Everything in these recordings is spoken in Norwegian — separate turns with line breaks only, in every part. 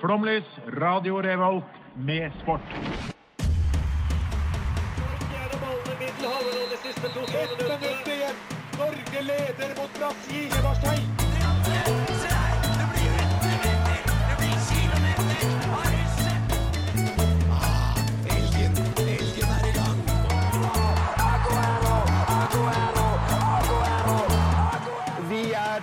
Flomlys, Radio Revolt, med sport.
Ett minutt igjen. Norge leder mot Brasil. Marstein.
Vi er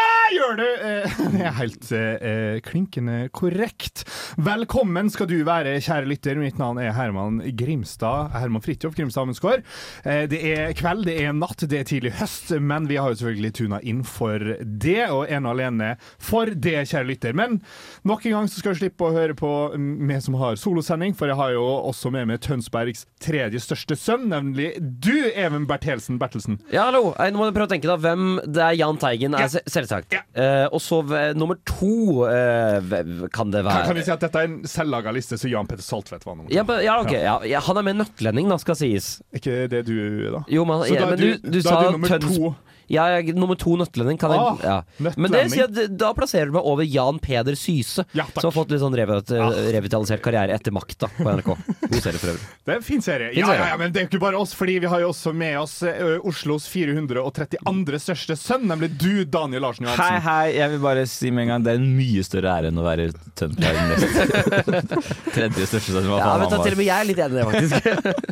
gjør du! Eh, Det er helt eh, klinkende korrekt. Velkommen skal du være, kjære lytter. Mitt navn er Herman Grimstad. Herman Fridtjof Grimstad Amundsgaard. Eh, det er kveld, det er natt, det er tidlig høst, men vi har jo selvfølgelig tuna inn for det, og ene og alene for det, kjære lytter. Men nok en gang så skal du slippe å høre på meg som har solosending, for jeg har jo også med meg Tønsbergs tredje største sønn, nemlig du, Even Berthelsen Bertelsen.
Ja, hallo. Eh, Nå må du prøve å tenke deg hvem det er Jahn Teigen er, se- selvsagt.
Ja.
Eh, og så v- nummer to eh, v- kan det
Kan,
være
kan vi si at dette er en selvlaga liste som Jan Petter Saltvedt var noe
ja, men- ja, ok. Ja. Ja, han er med nøttlending, da, skal sies.
Er ikke det du, da?
Jo, men,
Så da
ja,
er
men
du-
du,
da
du sa
er du nummer
Tøns-
to.
Ja, jeg, nummer to nøttlending. Kan
Ah,
jeg, ja. Men det
nøttlending.
sier at da plasserer du meg over Jan Peder Syse,
Ja, takk. Ah.
som har fått litt sånn revet, revitalisert karriere etter makta på NRK. God serie for øvrig.
Det er en fin serie. Ja,
serie.
ja, ja, men det er jo ikke bare oss, fordi vi har jo også med oss ø, Oslos 432. største sønn, nemlig du, Daniel Larsen
Hei,
Johansen.
hei. Jeg vil bare si med en gang det er en mye større ære enn å være Tønsbergs nest tredje største sønn. Hva
Ja, vet du,
faen han
til og
var.
med jeg er litt enig i det, faktisk.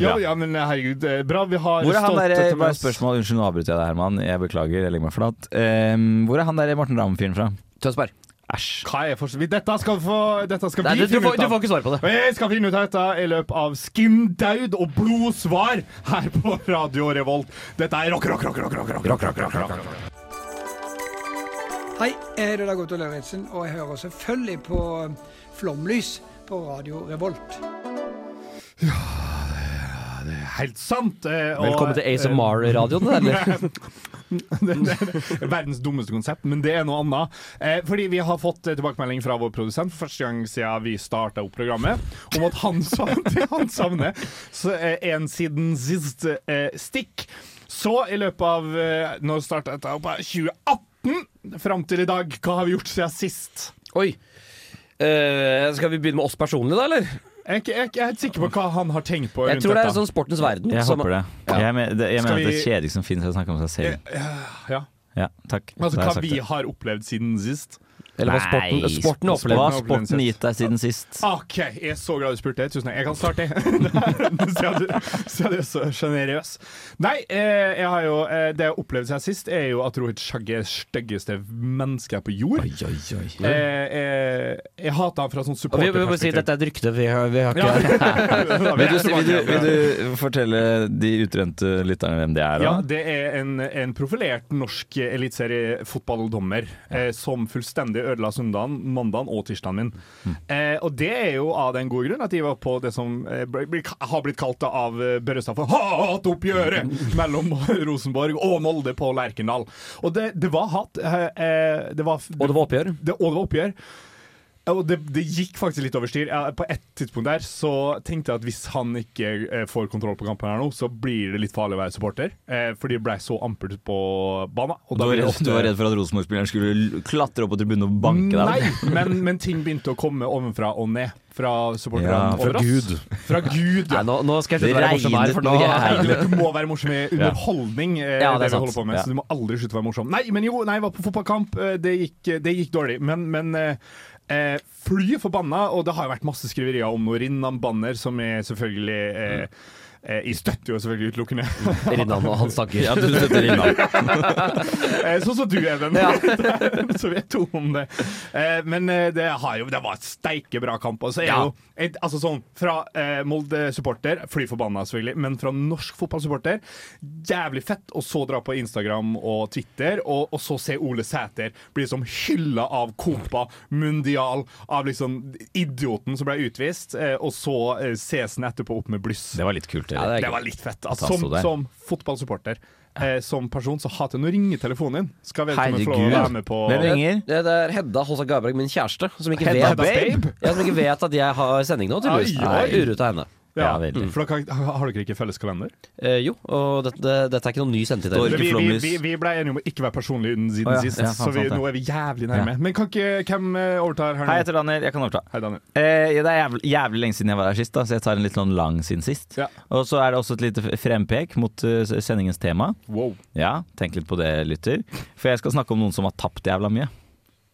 Ja, ja, men herregud, eh, bra. Vi har
Hvor er han der,
stolthet med
bare
oss.
et spørsmål, Unnskyld, nå avbryter jeg deg, Herman. Jeg beklager, jeg legger meg flat. Ehm, hvor er han der Morten Ramm-fyren fra?
Tønsberg.
Æsj.
Hva er forskjellen? Vi- Dette skal, få, dette skal
Nei,
vi
du, du,
finne
får,
ut
du får
av.
ikke svar på det.
Og jeg skal finne ut av dette i løpet av skindaud og blodsvar her på Radio Revolt. Dette er rock, rock, rock, rock, rock, rock, rock, rock, rock, rock, rock.
Hei, jeg heter Dag Otto Lauritzen, og jeg hører selvfølgelig på Flomlys på Radio Revolt.
Helt sant. eh, og- eh,
Velkommen til ASMR-radioen. eller?
Verdens dummeste konsept, men det er noe annet. Eh, fordi vi har fått eh, tilbakemelding fra vår produsent for første gang siden vi starta opp programmet, om at han, sa- det han savner så, eh, en siden sist eh, stikk. Så i løpet av eh, Når starta dette opp? eh, 2018 fram til i dag. Hva har vi gjort siden sist?
Oi. Eh, skal vi begynne med oss personlig, da, eller?
Jeg er ikke- jeg er ikke jeg er helt sikker på hva han har tenkt på.
Jeg
rundt
tror det er
dette.
sånn sportens verden.
Jeg
som-
håper det.
Ja.
Jeg, men, det, jeg
Skal
mener at det
vi-
kjedeligste som finnes, er å snakke om seg
sånn-
selv.
ja.
Ja, takk.
Altså
Da har jeg
hva
sagt
vi
det.
har opplevd siden sist.
Eller hva sporten,
Nei,
sporten har
Hva
opplevd.
har sporten gitt deg siden sist?
OK, jeg er så glad du spurte. Tusen takk. Jeg kan starte, jeg. Siden du- Siden du er så sjenerøs. Nei, eh, jeg har jo, eh, det jeg har opplevd siden sist, er jo at Rohit Shaggy er det styggeste mennesket på jord.
oi, oi.
Eh, eh, jeg hater han fra sånn
Ja, Vi, vi må si at
supporterperspektiv.
dette er et rykte. Vi har, vi har
Ja.
ikke
Vil du, vil, du, vil du fortelle de utrente lytterne hvem det er?
Ja,
Da?
det er en, en profilert norsk eliteseriefotballdommer eh, som fullstendig ødela søndagen, mandagen og tirsdagen min. Eh, og det er jo av den gode grunn at de var på det som eh, ble, ble, har blitt kalt da av eh, Børrestad for hatoppgjøret mellom Rosenborg og Molde på Lerkendal. Og det, det var hat. Eh, eh, det var,
Og det var oppgjør.
det, og det var oppgjør. Og det, det gikk faktisk litt over styr. Ja, På et tidspunkt der så tenkte jeg at hvis han ikke eh, får kontroll på kampen her nå, så blir det litt farlig å være supporter. Eh, fordi det blei så ampert på banen. og
Du
da
var,
blir det
redd,
ofte-
du var redd for at Rosenborg-spilleren skulle l- klatre opp på tribunen og banke deg?
Nei, men, men ting begynte å komme ovenfra og ned. Fra supporterne
Ja, fra
over oss.
Gud.
Fra Gud,
Nei,
ja.
nå, nå skal jeg slutte å
Det
være morsom her,
regnet
for nå
nå.
er
Egentlig, Du må være morsom i underholdning, eh,
Ja,
det,
det er
vi
sant.
holder på med.
Ja.
Så du må aldri slutte å være morsom. Nei, men jo, nei, jeg var på fotballkamp. eh, Det gikk, det gikk dårlig. Men, men eh, eh, fly forbanna, og det har jo vært masse skriverier om noe Rinnan-banner, som er selvfølgelig eh,
Mm.
eh, jeg støtter jo selvfølgelig utelukkende.
Rinnan og hans tanker.
Ja, du støtter innom.
Eh, Sånn som du, Even.
Ja.
så vi er to om det. Eh, Men eh, det, har jo, det var et steike bra kamp. Og så er
Ja.
jo et, altså sånn, Fra eh, Molde-supporter, fly forbanna selvfølgelig, men fra norsk fotballsupporter, jævlig fett. Og så dra på Instagram og Twitter, og, og så se Ole Sæter bli som hylla av Copa Mundial, av liksom idioten som ble utvist, eh, og så eh, ses han etterpå opp med blyss.
Det var litt kult.
Ja, det er
Det
gøy.
var litt fett. Altså,
At han sto
som,
der.
som fotballsupporter, eh, som person, så hater jeg når ringer telefonen din. Skal vedkommende få lov å
Herregud.
være med på
Hvem ringer?
Det det er Hedda Hossa Garberg, min kjæreste, som ikke,
Hedda
vet,
Babe?
Ja, som ikke vet at jeg har sending nå, tydeligvis.
Oi, oi.
Urute av henne.
Ja, veldig.
Mm. For da kan, har dere ikke felles kalender?
Eh, jo, og dette, det- dette er ikke noen ny sendetid.
Dorg.
Vi, vi,
flomlys.
vi, vi ble enige om å ikke være personlige siden
Å ja,
sist,
ja,
så
sant,
vi,
sant, ja.
nå er vi jævlig nærme. Men kan ikke hvem eh, overtar her nå?
Hei, jeg heter Daniel. Jeg kan overta.
Hei, Daniel.
Eh, ja, det er jævlig, jævlig lenge siden jeg var her sist, da, så jeg tar en litt sånn lang siden sist.
Ja.
Og så er det også et lite f- frempek mot eh, s- sendingens tema.
Wow.
Ja, tenk litt på det, lytter. For jeg skal snakke om noen som har tapt jævla mye.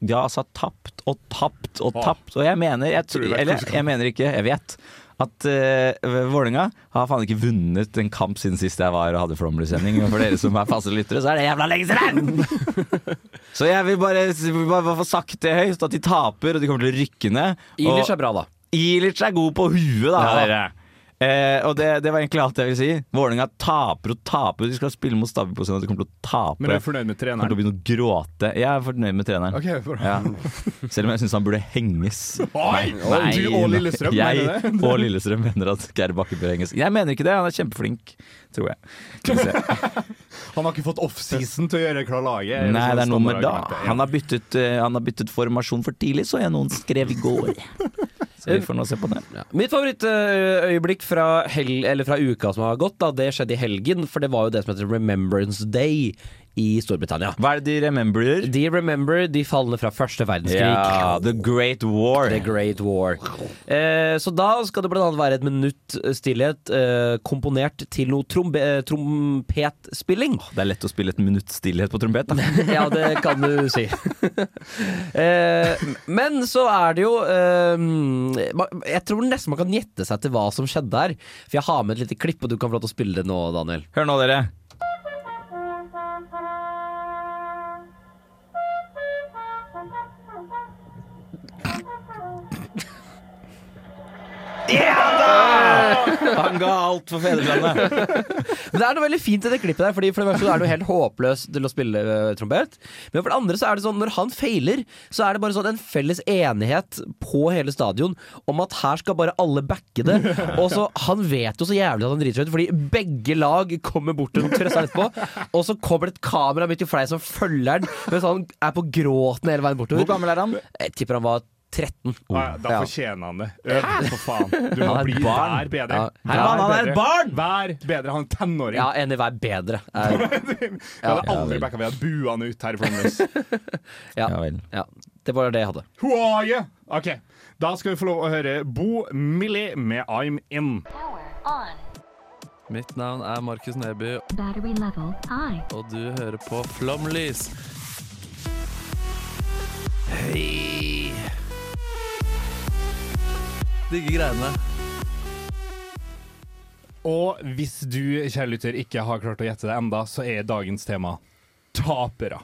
De har altså tapt og tapt og tapt, og jeg mener jeg,
Tror du det
tr-
er
Eller
kunnskap?
jeg mener ikke, jeg vet. At uh, Vålerenga har faen ikke vunnet en kamp siden sist jeg var og hadde Flåmly-sending. Og for dere som er faste lyttere, så er det jævla lenge siden! så jeg vil bare, vil bare få sagt det høyt, at de taper, og de kommer til å rykke ned.
Ilish
og-
er bra, da.
Ilic er god på huet, da.
Ja.
dere. Eh, og det, det var egentlig alt jeg ville si. Vålerenga taper og taper. De skal spille mot Stabæk på søndag, de kommer til å tape.
Men er du fornøyd med
Jeg kommer til å
treneren?
begynne å gråte. Jeg er fornøyd med treneren.
Ok, bra.
Ja. Selv om jeg syns han burde henges.
Oi! du og Lillestrøm,
jeg,
mener du det?
og Lillestrøm mener at Geir Bakke bør henges. Jeg mener ikke det, han er kjempeflink, tror jeg. Skal vi se.
Han har ikke fått offseason til å gjøre klar laget. er
Nei,
sånn
det er noe med da.
standardargumentet. Ja.
Han har byttet, eh, han har byttet formasjon for tidlig, så jeg noen skrev i går. Så vi får nå se på det.
Ja. Mitt favorittøyeblikk fra, hel eller fra uka som har gått, da, det skjedde i helgen. For det var jo det som heter Remembrance Day i Storbritannia.
Hva er det de rememberer?
De remember de falne fra første verdenskrig.
Ja, The Great War.
The Great War. Eh, så da skal det bl.a. være et minutt stillhet eh, komponert til noe trombe eh, trompetspilling.
Det er lett å spille et minutts stillhet på trompet. Da.
Ja, det kan du si. eh, men så er det jo eh, ma- Jeg tror nesten man kan gjette seg til hva som skjedde her. For jeg har med et lite klipp, og du kan få lov til å spille det nå, Daniel.
Hør nå, dere. Ja da! Han ga alt for fedrelandet.
Men det er noe veldig fint i det klippet der, fordi for det første så er du helt håpløs til å spille eh, trompet. Men for det andre så er det sånn, når han feiler, så er det bare sånn en felles enighet på hele stadion om at her skal bare alle backe det. Og så, han vet jo så jævlig at han driter seg ut, fordi begge lag kommer bort til ham og trøster ham etterpå. Og så kommer det et kamera midt i fleisen som følger han, mens han er på gråten hele veien
Hvor
bortover.
gammel er han?
Jeg tipper han var 13.
Ja, ja, da
Ja.
fortjener han det. Øv, for faen. Du må
Han er
bli
barn.
vær bedre.
Ja.
Herman, han er
bedre.
et barn!
Vær bedre. Han er en tenåring.
Ja, enig, vær bedre. Eh,
Jeg hadde
Ja,
aldri
vel.
backa ved at buene ut her i Flåmlys.
Ja,
Ja vel.
ja. Det var det jeg hadde.
Who are you? OK. Da skal vi få lov å høre Bo Millie med I'm In.
Power on.
Mitt navn er Markus Neby,
Battery level high.
og du hører på Flomlys. Hei! Digge greiene.
Og hvis du, kjære lytter, ikke har klart å gjette det enda, så er dagens tema tapere.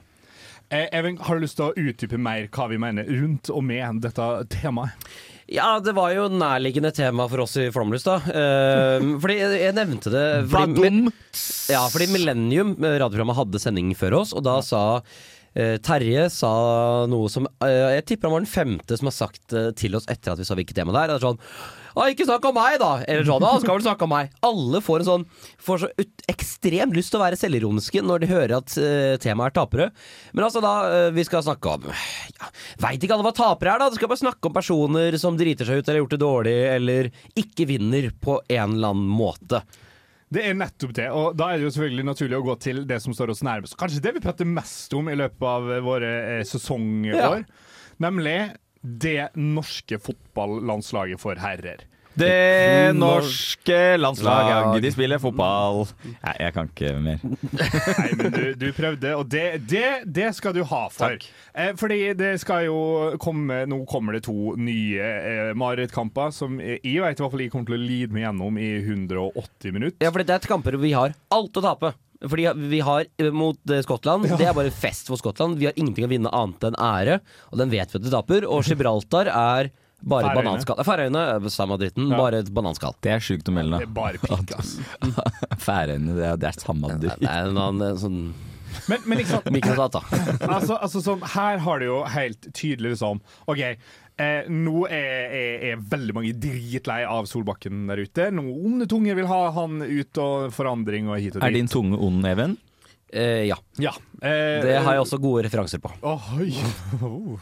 Eh, Even, har du lyst til å utdype mer hva vi mener rundt og med dette temaet?
Ja, det var jo nærliggende tema for oss i Flomlys, da. Eh, fordi jeg jeg nevnte det fordi,
Badum.
Ja, fordi Millennium, eh, radioprogrammet, hadde sending før oss, og da sa eh, Terje sa noe som eh, Jeg tipper han var den femte som har sagt eh, til oss etter at vi sa hvilket tema det er. Det er sånn «Å, ikke snakk om meg, da! Eller sånn, «Å, han skal vel snakke om meg. Alle får, en sånn, får så ut, ekstremt lyst til å være selvironiske når de hører at eh, temaet er tapere. Men altså, da eh, vi skal snakke om ja, Veit ikke alle hva tapere er, da? Du skal bare snakke om personer som driter seg ut eller har gjort det dårlig, eller ikke vinner på en eller annen måte.
Det er nettopp det, og da er det jo selvfølgelig naturlig å gå til det som står oss nærmest. Kanskje det vi prater mest om i løpet av eh, våre eh, sesongår, nemlig det norske fotballandslaget for herrer.
Det norske landslaget, de spiller fotball. Nei, jeg kan ikke mer.
Nei, men du, du prøvde, og det, det, det skal du ha for.
Takk.
Eh, fordi det skal jo komme Nå kommer det to nye eh, marerittkamper som jeg jeg vet i hvert fall jeg kommer til å lide meg gjennom i 180 minutter.
Ja, for det er et kamper hvor vi har alt å tape. Fordi vi har eh, mot eh, Skottland, det er bare fest for Skottland. Vi har ingenting å vinne annet enn ære, og den vet vi at vi taper. Og Gibraltar er bare et
Færøyene.
bananskall. Eh, Færøyene, eh, samme dritten, bare et bananskall.
Det er sjukt å melde.
Det er bare pikk, ass.
Færøyene, det er, det er samme
Det
dritt.
er en annen eh, sånn
Men, men ikke sant,
mikrostat, da.
altså, altså sånn, her har det jo helt tydelig liksom OK. Eh, nå er, er, er veldig mange dritlei av Solbakken der ute. Noen onde tunger vil ha han ut og forandring og hit og dit.
Er din tunge ond, Even?
Eh, ja.
Ja. Eh,
Det har jeg også gode referanser på.
Oi. Oh.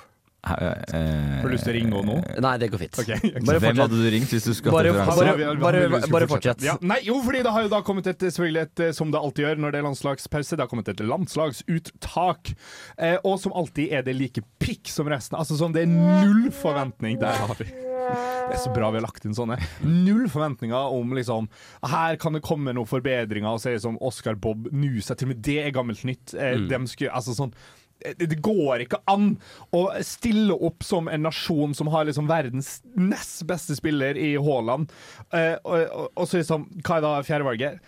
Har
Har du lyst til å ringe henne nå?
Nei, det går fint.
eh, Bare
Bare
Hvem
fortsett.
hadde du ringt hvis du skulle hatt
Bare,
referanse?
bare,
Ja, vi-
bare,
vi skulle
bare fortsett.
Ja, nei, jo, fordi det har jo da kommet et, selvfølgelig et, eh, som det alltid gjør når det er landslagspause, det har kommet et landslagsuttak. Eh, og som alltid er det like pikk som resten. Altså sånn, det er null forventning. Der har vi. Det er så bra vi har lagt inn sånne. Null forventninger om liksom Her kan det komme noen forbedringer, og så er det som Oscar Bob Nusa. Til og med det er gammelt nytt. Eh, dem skulle, altså sånn eh, det går ikke an å stille opp som en nasjon som har liksom verdens nest beste spiller i Haaland, eh, og, og, og så liksom Hva er da fjerdevalget?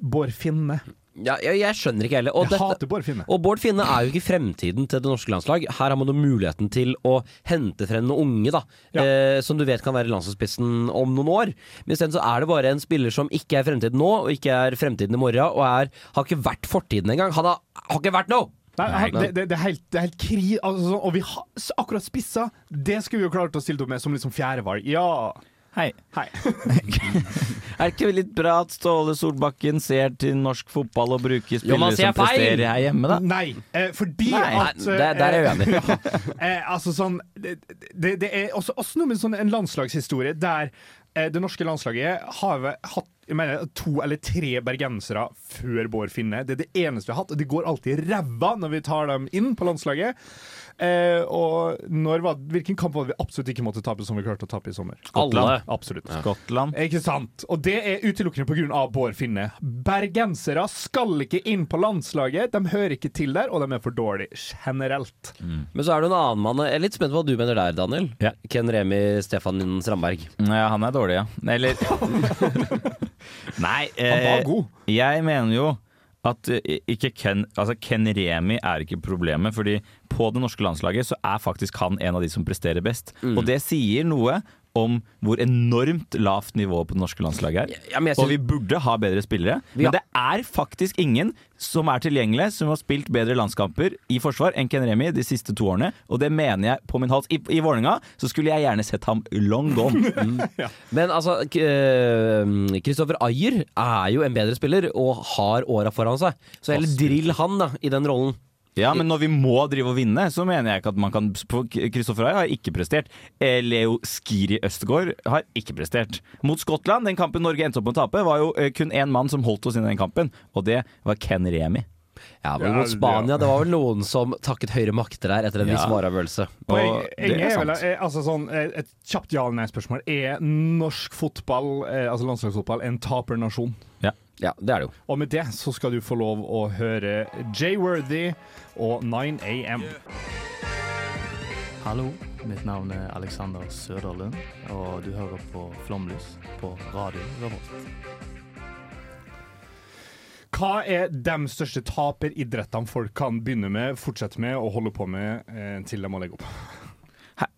Bård Finne.
Ja, jeg, jeg skjønner ikke heller. Og,
Jeg hater Bård Finne.
og Bård Finne er jo ikke fremtiden til det norske landslag. Her har man jo muligheten til å hente frem noen unge, da.
Ja.
Eh, som du vet kan være landslagsspissen om noen år. Men isteden så er det bare en spiller som ikke er fremtiden nå, og ikke er fremtiden i morgen, og er, har ikke vært fortiden engang. Han har, har ikke vært noe!
Nei, han- det, det, det er helt, det er helt kri... Altså, sånn, og vi har s- akkurat spissa! Det skulle vi jo klart å stille opp med som liksom fjerdevalg. Ja!
Hei.
Hei.
Er det ikke litt bra at Ståle Solbakken ser til norsk fotball og bruker
Jo, man
spillere
ser
som presterer
feil.
her hjemme, da?
Nei, eh, fordi
Nei.
at
Nei, der- der er jeg
eh,
uenig.
ja, eh, altså sånn Det, det, det er også, også noe med sånn en landslagshistorie der eh, det norske landslaget har vel hatt jeg mener, to eller tre bergensere før Bård Finne. Det er det eneste vi har hatt, og de går alltid i ræva når vi tar dem inn på landslaget. Eh, og når var, hvilken kamp var det vi absolutt ikke måtte tape, som vi klarte å tape i sommer?
Alle.
Absolutt.
Skottland.
Ikke sant? Og det er utelukkende pga. Bård Finne. Bergensere skal ikke inn på landslaget. De hører ikke til der, og de er for dårlige generelt.
Men så er det en annen mann Jeg er litt spent på hva du mener der, Daniel.
Ja.
Ken Remi Stefan Strandberg.
Ja, han er dårlig, ja. Eller Nei. eh,
Han var god.
Jeg mener jo at eh, ikke Ken, altså Ken Remi er ikke problemet, fordi på det norske landslaget så er faktisk han en av de som presterer best.
Mm.
Og det sier noe om hvor enormt lavt nivået på det norske landslaget er.
Ja, men jeg
og
synes-
vi burde ha bedre spillere,
har-
men det er faktisk ingen som er tilgjengelig som har spilt bedre landskamper i forsvar enn Ken Remi de siste to årene, og det mener jeg på min hals. I, i Vålerenga så skulle jeg gjerne sett ham long gone.
Men altså, k- eh, Christopher Ayer er jo en bedre spiller og har åra foran seg. Så heller drill han da, i den rollen.
Ja, men når vi må drive og vinne, så mener jeg ikke at man kan Kristoffer Ayer har ikke prestert. Eh, Leo Skiri Østgaard har ikke prestert. Mot Skottland, den kampen Norge endte opp med å tape, var jo eh, kun én mann som holdt oss inn i den kampen, og det var Ken Remi.
Ja, men
Ja,
mot Spania, det var vel noen som takket høyre makter der etter en viss
Ja.
vareavgjørelse.
Og
Poenget
det
er,
er
vel
sant.
eh, altså sånn, eh, Et kjapt ja- eller nei-spørsmål. Er norsk fotball, eh, altså landslagsfotball, en tapernasjon?
Ja, det er det jo.
Og med det så skal du få lov å høre J-Worthy og 9AM.
Hallo, mitt navn er Alexander Søderlund, og du hører på Flomlys på Radio Revolt.
Hva er de største taperidrettene folk kan begynne med, fortsette med og holde på med eh, til de må legge opp?
Hæ?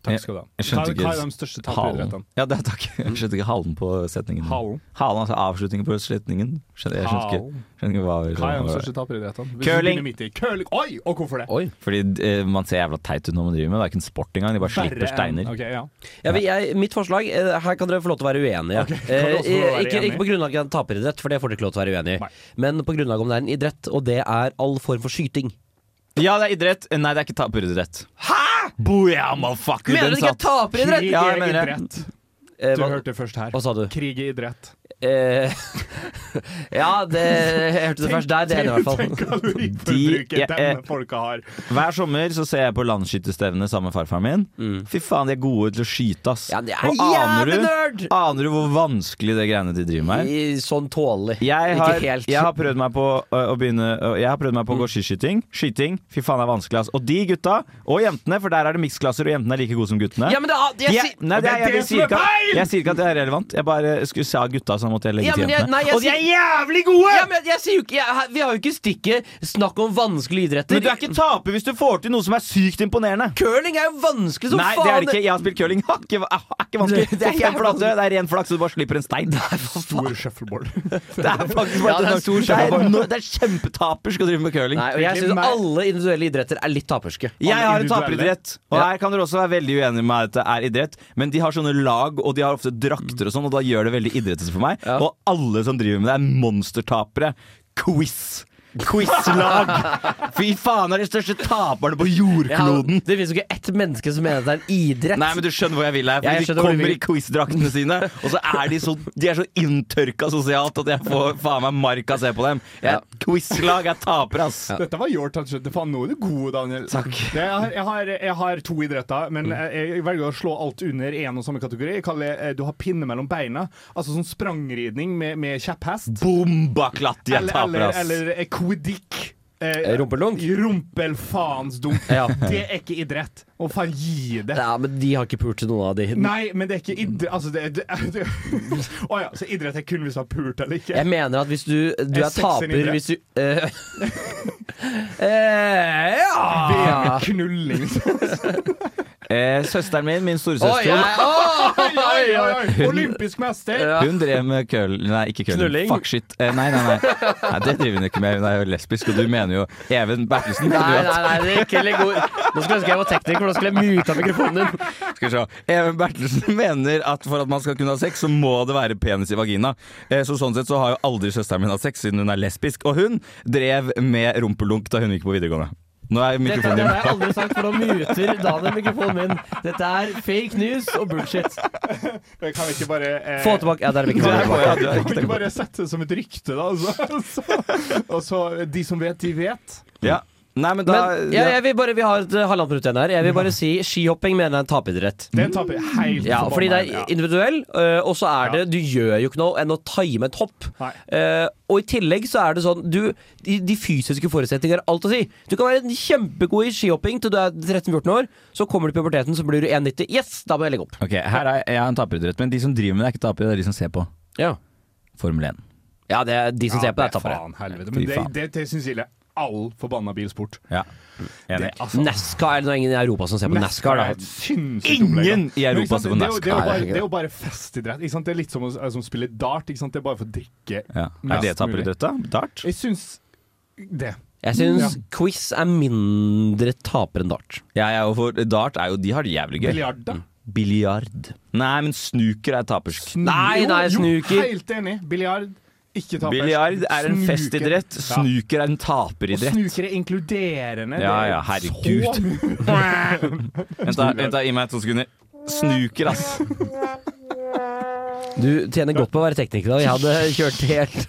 Takk skal du ha.
Jeg skjønte
Hva, hva er
ikke
de største
halen.
taperidrettene?
Ja, det, takk. Jeg skjønte ikke halen på setningen.
Halen.
Halen, altså avslutningen på slutningen. Skjønte, jeg skjønte ikke,
Halen.
skjønte ikke hva
Hva er de største taperidrettene? Hvis du
Curling.
begynner midt i. Curling! Oi, og hvorfor det?
Oi.
Fordi eh, man ser jævla teit ut når man driver med det. Det er ikke en sport engang, de bare
Verre
slipper
enn-
steiner.
Ok, ja.
Ja, men jeg, mitt forslag eh, Her kan dere få lov til å være uenige.
Ok, kan
Eh,
dere også få være
ikke,
enige?
ikke på grunnlag av en taperidrett, for det får dere ikke lov til å være uenige i.
Nei.
Men på grunnlag om det er en idrett, og det er all form for skyting.
Ja, det er idrett. Nei, det er ikke taperidrett. Hæ?! Booyah, motherfucker!
Mener du
den
ikke
satt.
taperidrett?
Krig
Ja, jeg
er
mener det.
idrett.
Eh,
Du
hva-
hørte det først her.
hva sa du?
Krig er idrett.
Eh, ja, det, jeg hørte det først der. Det er enig i hvert fall.
Tenk kaloriforbruket
De- ja, eh,
denne folka har.
Hver sommer så ser jeg på landskytterstevne sammen med farfaren min. Fy faen, de er gode til å skyte, ass.
Mm. Ja, det er
Og aner
jævlig
du,
nerd!
aner du hvor vanskelig det greiene de driver med er?
I- Sånn tålelig.
Jeg har,
Ikke helt. Mm.
jeg har prøvd meg på ø, å begynne ø, Jeg har prøvd meg på å gå skiskyting. Skyting. Fy faen, det er vanskelig. ass Og de gutta, og jentene, for der er det miksklasser, og jentene er like gode som guttene.
Ja, men det er, jeg,
Ja,
sier-
nei, det,
det er
jeg,
det
jeg,
som
sier
er
ikke at,
feil!
jeg sier ikke at det er relevant. Jeg bare skulle sa gutta, så måtte jeg legge
Ja,
til
men jeg-
jentene.
nei, jeg
og de er
sier-
jævlig gode!
ja, men jeg sier jo ikke jeg, Vi har jo ikke stikket snakk om vanskelige idretter.
Men du er ikke taper hvis du får til noe som er sykt imponerende.
Curling er jo vanskelig som
Nei,
faen!
det er det ikke. Jeg har spilt curling. Det er ikke, er ikke vanskelig.
Det er
Det er,
jævlig
flate. det er ren flaks, så du bare slipper en stein. Det er,
Stor shuffleboard.
faktisk
Ja, det er
bare
stor
det er, no- det er kjempetaper skal drive med curling.
Nei, og jeg syns
Nei.
alle individuelle idretter er litt taperske.
Jeg har en
individuelle.
taperidrett, og
Ja.
her kan dere også være veldig uenige med at det er idrett, men de har sånne lag, og de har ofte drakter og sånn, og da gjør det veldig idrettete for meg.
Ja.
Og alle som driver med det, er monstertapere. Quiz! Quizlag! Fy faen, er de største taperne på jordkloden!
det finnes jo ikke ett menneske som mener at det er en idrett.
Nei, men du skjønner hvor jeg vil her.
Ja, jeg
Fordi de
skjønner hvor du
kommer
vil.
i quizdraktene sine, og så er de så, de er så inntørka sosialt at jeg får faen meg mark av å se på dem. Jeg,
Ja.
Quizlag er tapere, ass!
Dette var your touch. Det- Faen, nå er du god, Daniel.
Takk.
Det, jeg, har, jeg, har, jeg har to idretter, men
Mm.
jeg, jeg velger å slå alt under én og samme kategori. Jeg kaller det, eh, du har pinne mellom beina. Altså sånn sprangridning med, med kjepphest.
Bombaklatt, de er
Eller,
tapere,
eller,
ass!
eller eh, quidditch. Eh,
Eh, rumpelunk?
Rumpelfaensdunk.
Ja.
Det er ikke idrett. Å faen, gi det.
Ja, men de har ikke pult til noen av de.
Nei, men det er ikke idrett Altså, det er Å ja, så idrett er kun hvis du har pult eller ikke?
Jeg mener at hvis du, du
Er
er
sex en idrett?
taper hvis du eh, eh,
Det
Ja!
er knulling.
Eh, søsteren min,
Oi,
min storesøster,
jeg, å,
Oi, oi, oi. Olympisk mester!
Ja.
Hun drev med køl... Nei, ikke køl.
Knulling?
Fuck shit. Eh, nei, nei, nei, nei. Det driver hun ikke med. Hun er jo lesbisk, og du mener jo Even Bertelsen.
Nei,
Nei,
nei, nei, det er ikke litt god Nå skulle jeg ønske jeg var tekniker, for da skulle jeg muta mikrofonen din.
Skal vi se. Even Bertelsen mener at for at man skal kunne ha sex, så må det være penis i vagina. Eh, så sånn sett så har jo aldri søsteren min hatt sex, siden hun er lesbisk. Og hun drev med rumpelunk da hun gikk på videregående. Nå
Dette
er mikrofonen
det har jeg
din
aldri sagt, for da muter Daniel mikrofonen min. Dette er fake news og bullshit.
Kan vi ikke bare eh,
Få tilbake Ja, der er
Kan
mikrofonen
vi
tilbake.
bare- kan vi ikke bare sette det som et rykte, da? Og så, så, og så de som vet, de vet.
Ja. Nei, men da
Men ja, jeg vil bare, vi har et eh, halvannet minutt igjen her. Jeg vil bare si skihopping mener jeg er en tapeidrett.
Det taper jeg helt
Ja,
forbanna
fordi det
igjen, ja.
er individuell, eh, og så er det Du gjør jo ikke noe enn å time et hopp.
Nei.
Eh, og i tillegg så er det sånn du, de, de fysiske forutsetningene har alt å si. Du kan være en kjempegod i skihopping til du er 13-14 år, så kommer du i puberteten, så blir du 1,90. Yes, da må jeg legge opp.
Ok, her er jeg er en taperidrett, men de som driver med det, er ikke tapere, det er de som ser på.
Ja,
Formel 1.
det er de som ser på, det er tapere.
Faen helvete. Men
Fy
det,
faen.
det, det syns jeg er all forbanna bilsport.
Ja. Enig.
Det, altså,
Nesca er det noe ingen i Europa som ser på NASCAR,
er
da.
et sinnssykt
Ingen
opplegg, da.
i Europa
Men ikke sant,
ser på
det er jo- Det er
NASCAR.
jo bare, det er jo bare festidrett. Ikke sant? Det er litt som å eh, som å spille dart. Ikke sant? Det er bare for å drikke
Ja. Er
mest
det taperidrett, da? Dart?
Jeg syns det.
Jeg syns
Ja.
quiz er mindre taper enn dart.
Ja, jeg er jo for dart er jo De har det jævlig gøy.
Biljard, da?
Biljard. Nei, men snooker er tapersk.
Nei,
Jo,
nei,
Jo,
snuker.
helt enig. Biljard, ikke tapers.
Biljard er en
Snuker.
festidrett, snooker er en
Og
taperidrett.
snuker er inkluderende.
Ja,
Det er
ja, herregud.
så-
Vent, da, vent da, gi meg to sekunder. Snooker, ass.
Du tjener godt på å være tekniker. da Jeg hadde kjørt helt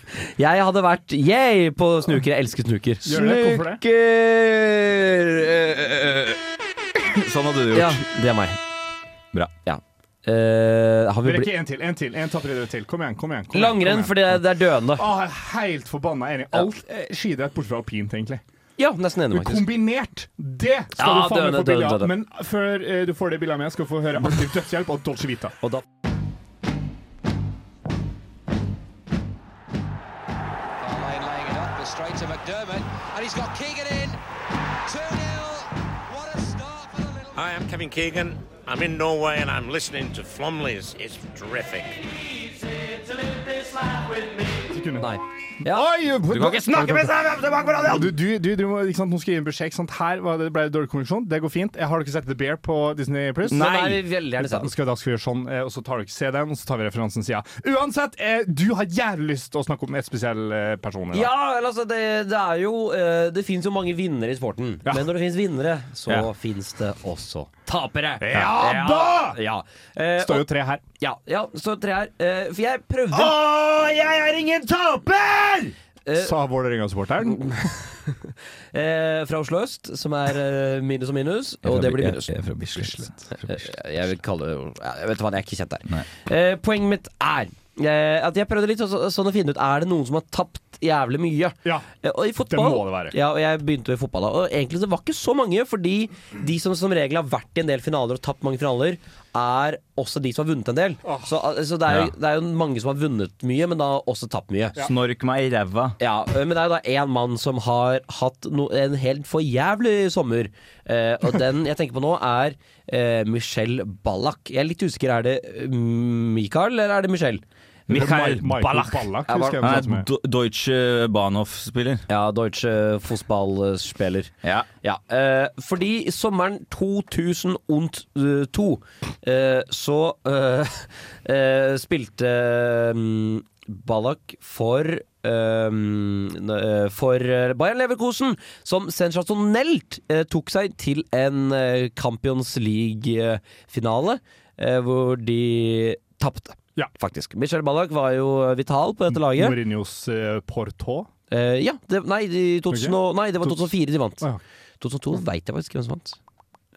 Jeg hadde vært yeah på snuker. Jeg elsker snuker.
Gjør det, hvorfor det?
Snooker Eh, eh, eh. Sånn hadde du gjort.
Ja, det er meg.
Bra.
Ja. Eh, har
Vi
vi blitt
rekker en til, en til. En taperidrett til. Kom igjen, kom igjen. Kom igjen,
Langrenn,
kom igjen.
for det, det er døende.
Å, jeg er helt forbanna enig. Alt eh, skidrett bortsett fra alpint, egentlig.
Ja, nesten enig,
Men
faktisk.
kombinert, det skal du
Ja,
faen meg
døde,
få bilde
døde,
av.
døde.
Men før eh, du får det bildet av meg, skal du få høre aktiv dødshjelp og Dolce Vita.
Og da
Lane laying it up, but straight to McDermott, and he's got Keegan in. 2 0. What a start for the little.
Hi, I'm Kevin Keegan. I'm in Norway and I'm listening to Flomley's. It's terrific.
Sekundet.
Nei. Ja.
Oi,
Du kan ikke snakke med seg tilbake på
Ja,
radioen!
Du, du, du, du må ikke sant, nå skal jeg gi en beskjed. Ikke sant? Her var det, ble det dårlig konvensjon. Det går fint. Jeg har dere sett The Bear på Disney Pluss?
Nei. Den er veldig gjerne
Da
sett.
skal, da skal vi gjøre sånn, eh, og så tar dere se den, og så tar vi referansen sida. Uansett, eh, du har jævlig lyst til å snakke om et spesiell eh, person. i dag.
Ja, eller altså, det, det er jo eh, Det fins jo mange vinnere i sporten.
Ja.
Men når det fins vinnere, så
Ja.
fins det også tapere.
Ja da!
Ja. Eh,
står jo tre her.
Ja, ja så tre her. Eh, for jeg prøvde
Ah! jeg er ingen taper!
Eh,
Sa Vålerenga-supporteren.
eh, fra Oslo øst, som er eh, minus og minus, og det blir minus.
Jeg er fra Bislett.
Eh, Jeg vil kalle det ja, Jeg vet hva, jeg er ikke kjent
Nei.
der. Eh, poenget mitt er eh, at jeg prøvde litt så, så, sånn å finne ut Er det noen som har tapt jævlig mye.
Ja.
Eh, Og i fotball,
Det må det være.
Ja, og jeg begynte jo i fotball da. Og egentlig det var ikke så mange, fordi de som som regel har vært i en del finaler og tapt mange finaler, er også de som har vunnet en del. Så, al- så det, er jo,
Ja.
det er jo mange som har vunnet mye, men da også tapt mye.
Snork meg i ræva.
Ja, øh, men det er jo da én mann som har hatt no, en helt for jævlig sommer. Eh, og den jeg tenker på nå, er eh, Michelle Ballack. Jeg er litt usikker. Er det øh, Michael, eller er det Michelle?
Mikael
Ma- Michael
Ballack.
Ballack
Ja,
husker jeg
Han
hvem
er
satt med.
Do- Deutsche Bahnhof-spiller.
Ja, Deutsche Fußballspiller.
Ja.
Ja, eh, fordi sommeren 2002 eh, så eh, eh, spilte mm, Ballack for ehm, n- eh, for eh, Bayern Leverkusen, som sensasjonelt eh, tok seg til en eh, Champions League-finale, eh, hvor de tapte.
Ja.
Faktisk. Michel Ballack var jo eh, vital på dette laget.
Mourinhos eh, Porto.
Eh, ja, det, nei, de 2000, og- nei, det var
Tots-
2004 de vant.
Å ja.
2002 veit jeg faktisk hvem som vant.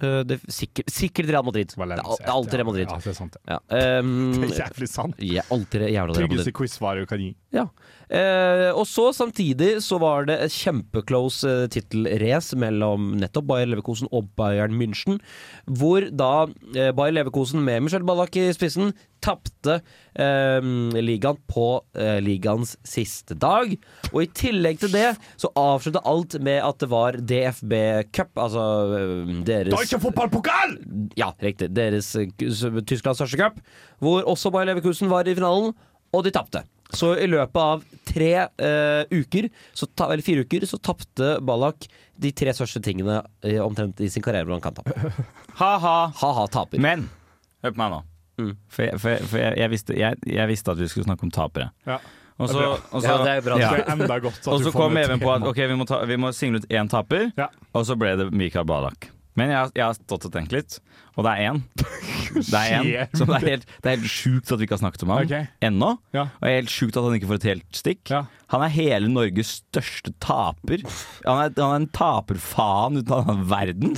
Eh, det, sikkert, sikkert Real Madrid. Det er, al- det er alltid Real Madrid.
Ja, det er sant. det.
Ja. ehm,
Det er jævlig sant.
ja, alltid det jævla Real Madrid.
Tryggeste quiz-svaret du kan gi.
Ja. Eh, og så samtidig så var det et kjempeclose eh, tittelrace mellom nettopp Bayer Leverkosen og Bayern München, hvor da eh, Bayer Leverkosen med Michel Ballack i spissen tapte eh, ligaen på eh, ligaens siste dag. Og i tillegg til det så avslutta alt med at det var DFB Cup, altså eh, deres
fotballpokal!
ja, riktig. Deres eh, Tysklands største cup, hvor også Bayer Leverkusen var i finalen, og de tapte. Så i løpet av tre eh, uker, så ta, eller fire uker, så tapte Ballack de tre største tingene eh, omtrent i sin karriere hvor han kan tape.
Ha-ha.
Ha-ha, taper.
Men hør på meg nå.
Mm.
For, jeg, for, jeg, for jeg, jeg, visste, jeg, jeg visste at vi skulle snakke om tapere.
Ja.
Og så, og så,
ja, det er bra.
Det er enda godt at
og
du
så
får
kom
med
Even på at
tema.
ok, vi må, ta, vi må single ut én taper,
Ja.
og så ble det Mikael Badak. Men jeg, har- jeg har stått og tenkt litt, og det er én. Det er én
Skjer
som det er helt, det er helt sjukt at vi ikke har snakket om ham
Ok.
ennå.
Ja.
Og det er helt sjukt at han ikke får et helt stikk.
Ja.
Han er hele Norges største taper. Han er, han er en taperfaen uten all verden.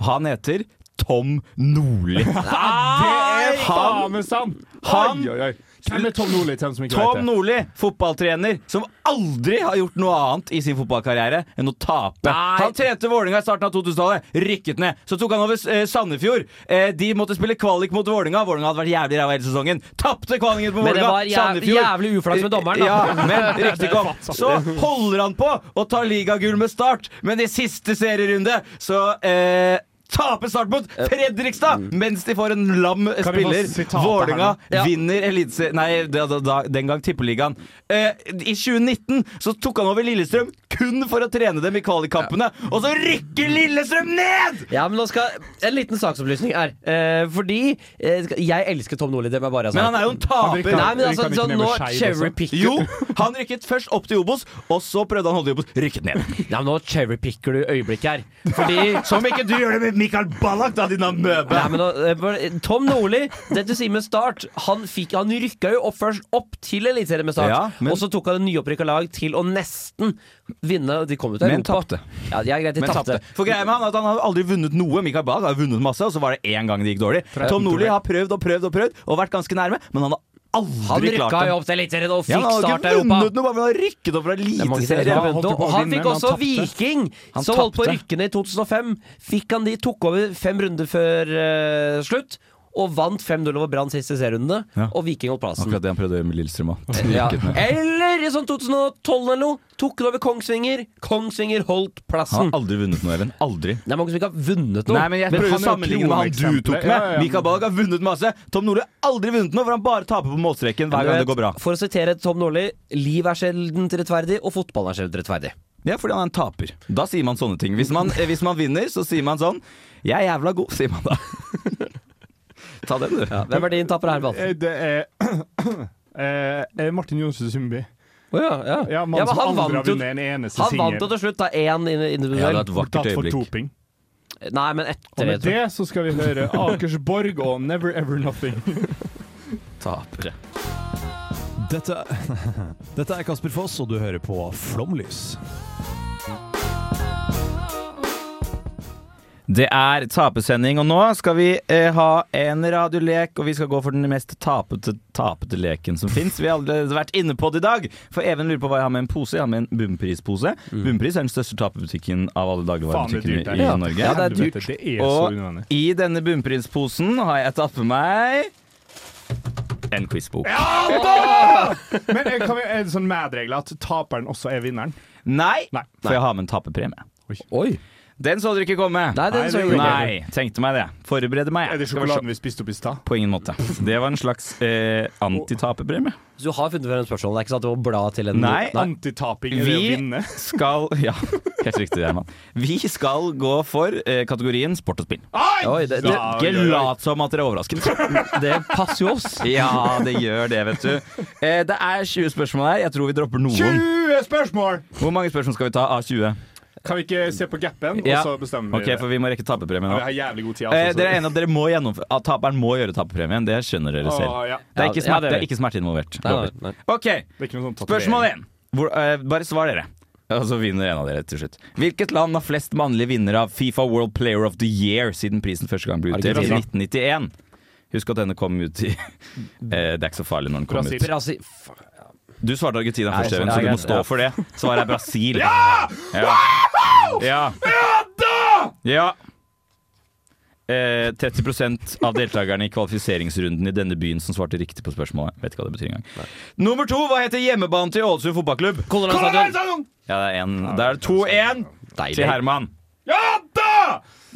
Han heter Tom Nordli.
Ah, Det er faen
Han,
meg sant!
Han-
Oi, oi, oi. Hvem er Tom Nordli, til dem som ikke
Tom
vet det?
Nordli, fotballtrener som aldri har gjort noe annet i sin fotballkarriere enn å tape. Han trente Vålinga i starten av 2000-tallet, rykket ned. Så tok han over eh, Sandefjord. Eh, de måtte spille kvalik mot Vålinga. Vålinga hadde vært jævlig ræva hele sesongen. Tapte kvaliken mot
Men det
Vålinga.
var jæv jævlig uflaks med dommeren, da.
Ja, men riktignok. Så holder han på å ta ligagull med Start, men i siste serierunde så eh, taper Start mot Fredrikstad mens de får en lam
Kan vi få
spiller.
sitatet her nå?
Vålinga
Ja.
vinner Eliteserien Nei, da, da, da, den gang Tippeligaen. Eh, I 2019 så tok han over Lillestrøm kun for å trene dem i kvalikkampene, og så rykker Lillestrøm ned!
Ja, men nå skal En liten saksopplysning her. Eh, fordi eh, skal- Jeg elsker Tom Nordli, det må jeg bare ha
Men han
sagt.
er jo en
Han drikker-
taper.
Nei, men
Vi
altså,
kan ikke
sånn,
nevne
nå
Skeid
cherry
også.
picker
altså. Jo, han rykket først opp til Obos, og så prøvde han å holde i Obos. Rykket ned.
Nei, men nå cherry picker du øyeblikket her. Fordi
Som ikke du gjør det med Mikael Ballack, da, din amøbe!
Nei, men, da- eh, bare- Tom Nordli, det du sier med Start Han, fikk, han rykka jo opp først opp til Eliteserien med Start.
Ja, men-
og så tok han et nyopprykka lag til å nesten vinne. De kom jo til
Men
Europa.
tapte.
Ja, de er greit, de
Men tapte.
tapte.
For greia med han er at han har aldri vunnet noe. Mikael Ballack har vunnet masse, og så var det én gang det gikk dårlig. Tom Nordli har prøvd og prøvd og prøvd, og vært ganske nærme, men han har
Han
aldri klart
rykka
det.
jo opp til Eliteserien og
Ja,
fikk
han hadde
Start
ikke vunnet
Europa.
noe, bare for han har rykket opp fra
Det er mange serier som
eliteserien.
har
Han holdt
vunnet,
på å
og Han
vinne,
fikk
men
også
han tapte.
Viking,
Han
som holdt på å
tapte.
rykke ned i 2005. Fikk han de, tok over fem runder før eh, slutt. Og vant 5-0 over Brann siste serierunde.
Ja.
Og Viking holdt plassen.
Akkurat det han prøvde å gjøre med Lillestrøm òg.
Ja. Eller i sånn 2012 eller noe. Tok den over Kongsvinger. Kongsvinger holdt
Han
plassen.
har aldri vunnet noe, Even. Aldri.
Det er mange som ikke har vunnet noe.
Nei, men jeg prøver å
han er jo
sammenligne med han du
kroneksempelet.
tok med.
Ja, ja, ja.
Mikael Ballack har vunnet masse. Tom Nordli har aldri vunnet noe, for han bare taper på målstreken
Men du
hver gang
vet,
det går bra.
For å sitere Tom Nordli, liv er sjelden rettferdig, og fotball er sjelden rettferdig.
Ja, fordi han er en taper. Da sier man sånne ting. Hvis man, eh, hvis man vinner, så sier man sånn Jeg er jævla god, sier man da. Ta den, du.
Ja, hvem er din tapper her, Balt?
Eh, Det er eh, eh, Martin Johnsen Sundby.
Å ja, ja.
Ja,
Ja,
Mannen
men
som
han
aldri har
vant jo
vunnet en eneste
han vant jo
singel.
til slutt, da. Én
Ja,
individuell.
det var et vakkert
Tatt for
øyeblikk.
doping.
Nei, men
Og
etter det.
med
tror jeg.
det så skal vi høre Akersborg og Never Ever Nothing.
Tapere.
Dette, dette er Kasper Foss, og du hører på Flomlys.
Det er tapesending, og nå skal vi eh, ha en radiolek, og vi skal gå for den mest tapete, tapete leken som fins. Vi har allerede vært inne på det i dag, for Even lurer på hva jeg har med en pose. Jeg har med en Bunnpris-pose. Bunnpris er den største tapebutikken av alle
Faen, det er dyrt
dagligvarebutikkene
der.
i Norge.
Ja, det er dyrt.
Helvete, Det er så unødvendig.
Og i denne Bunnpris-posen har jeg tatt med meg en quizbok.
Men eh, kan vi, er det sånn mad-regel at taperen også er vinneren?
Nei,
Nei.
for jeg har med en taperpremie.
Oi.
Den så dere ikke komme!
Nei, den så vi ikke.
Nei, tenkte meg det. Forbereder meg. jeg.
Er det
Skal vi se.
sjokoladen vi spiste opp i stad?
På ingen måte. Det var en slags eh, antitaperpremie.
Så du har funnet frem spørsmålet? Det er ikke sånn at du må bla til en
Nei,
Antitaping er det å
Vi-
vinne.
Skal Ja, helt riktig, Herman. Vi skal gå for eh, kategorien sport og spill.
Oi, det, det,
Ja,
Ikke
oi, oi.
lat som at dere er overrasket.
det passer jo oss.
Ja, det gjør det, vet du. Eh, det er 20 spørsmål her. Jeg tror vi dropper noen.
20 spørsmål!
Hvor mange spørsmål skal vi ta av 20?
Kan vi ikke se på gapen,
Ja.
og så bestemmer
Ok,
vi det?
for vi må rekke
Ja,
taperpremien.
Vi
nå.
har jævlig god tid. altså,
Eh,
så-
dere er enige om at dere må gjennomføre at taperen må gjøre taperpremien. Det skjønner dere selv.
Å, ja.
Det er ikke
Ja,
smerte,
det er
det
vi.
er ikke smerte involvert.
Nei,
Lover.
nei, nei.
Ok,
Det er ikke noen sånn tatovering.
Spørsmål én. Hvor- eh, Bare svar dere. Og så vinner en av dere til slutt. Hvilket land har flest mannlige vinnere av Fifa World Player of the Year siden prisen første gang ble utdelt i
Brasil?
1991? Husk at denne kom ut i eh, Det er ikke så farlig når den kom
Brasil.
ut.
Brasil Fuck.
Du svarte Argentina
Nei,
først, Even,
ja,
så du må
greit,
stå
ja.
for det. Svaret er Brasil. Ja! Ja. ja. ja. Eh, 30 av deltakerne i kvalifiseringsrunden i denne byen som svarte riktig på spørsmålet. Vet ikke hva det betyr engang. Nummer to, hva heter hjemmebanen til Ålesund fotballklubb?
Color Line Stadium.
Ja, det er en, Da er det 2-1 til
Deilig.
Herman.
Og,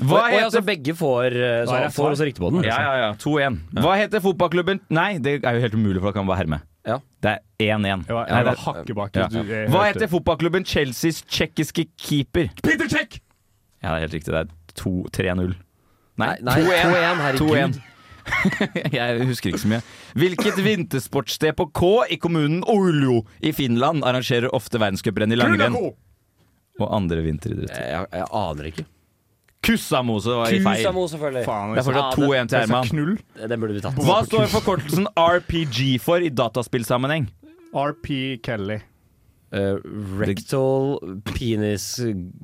Hva
og ja, så
heter
begge får, eh,
Hva er
så han
det for?
får også riktig på den.
Ja, ja, ja. 2-1. Hva heter fotballklubben Nei, det er jo helt umulig, for da kan man bare herme.
Ja.
Det er 1-1.
Ja,
Nei,
jeg var
det er-
hakket bak.
ja.
Du- eh, jeg
Hva
hørte.
heter fotballklubben Chelseas tsjekkiske keeper?
Peter Check!
Ja, det er helt riktig. Det er 2 3-0. Nei,
Nei, 2-1, herregud.
2-1. Jeg husker ikke så mye. Hvilket vintersportssted på K i kommunen Oulu i Finland arrangerer ofte verdenscuprenn i langrenn
Kulako!
og andre vinteridretter?
Jeg, jeg, jeg aner ikke.
Kussamo, så det var i feil.
Kusamo, selvfølgelig.
Faen,
Det er fortsatt 2-1 til Herman.
Knull.
Den burde vi tatt.
Hva står forkortelsen RPG for i dataspillsammenheng?
RP Kelly.
Eh, rectal penis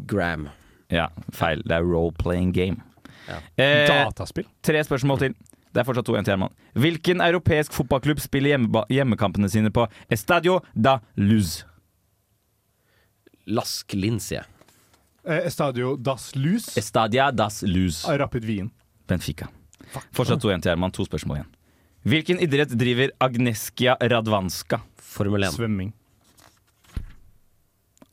gram.
Ja, feil. Det er role-playing game.
Ja.
Eh,
Dataspill?
tre spørsmål til. Det er fortsatt 2-1 til Herman. Hvilken europeisk fotballklubb spiller hjemmeba- hjemmekampene sine på Estadio da Luz?
Lask lins, jeg.
Eh, Estadio Das Luz.
Estadia das Luz.
Rapid Wien.
Benfica. Fortsatt 2-1 til Herman. To spørsmål igjen. Hvilken idrett driver Agneskia Radvanska?
Formel 1.
Svømming.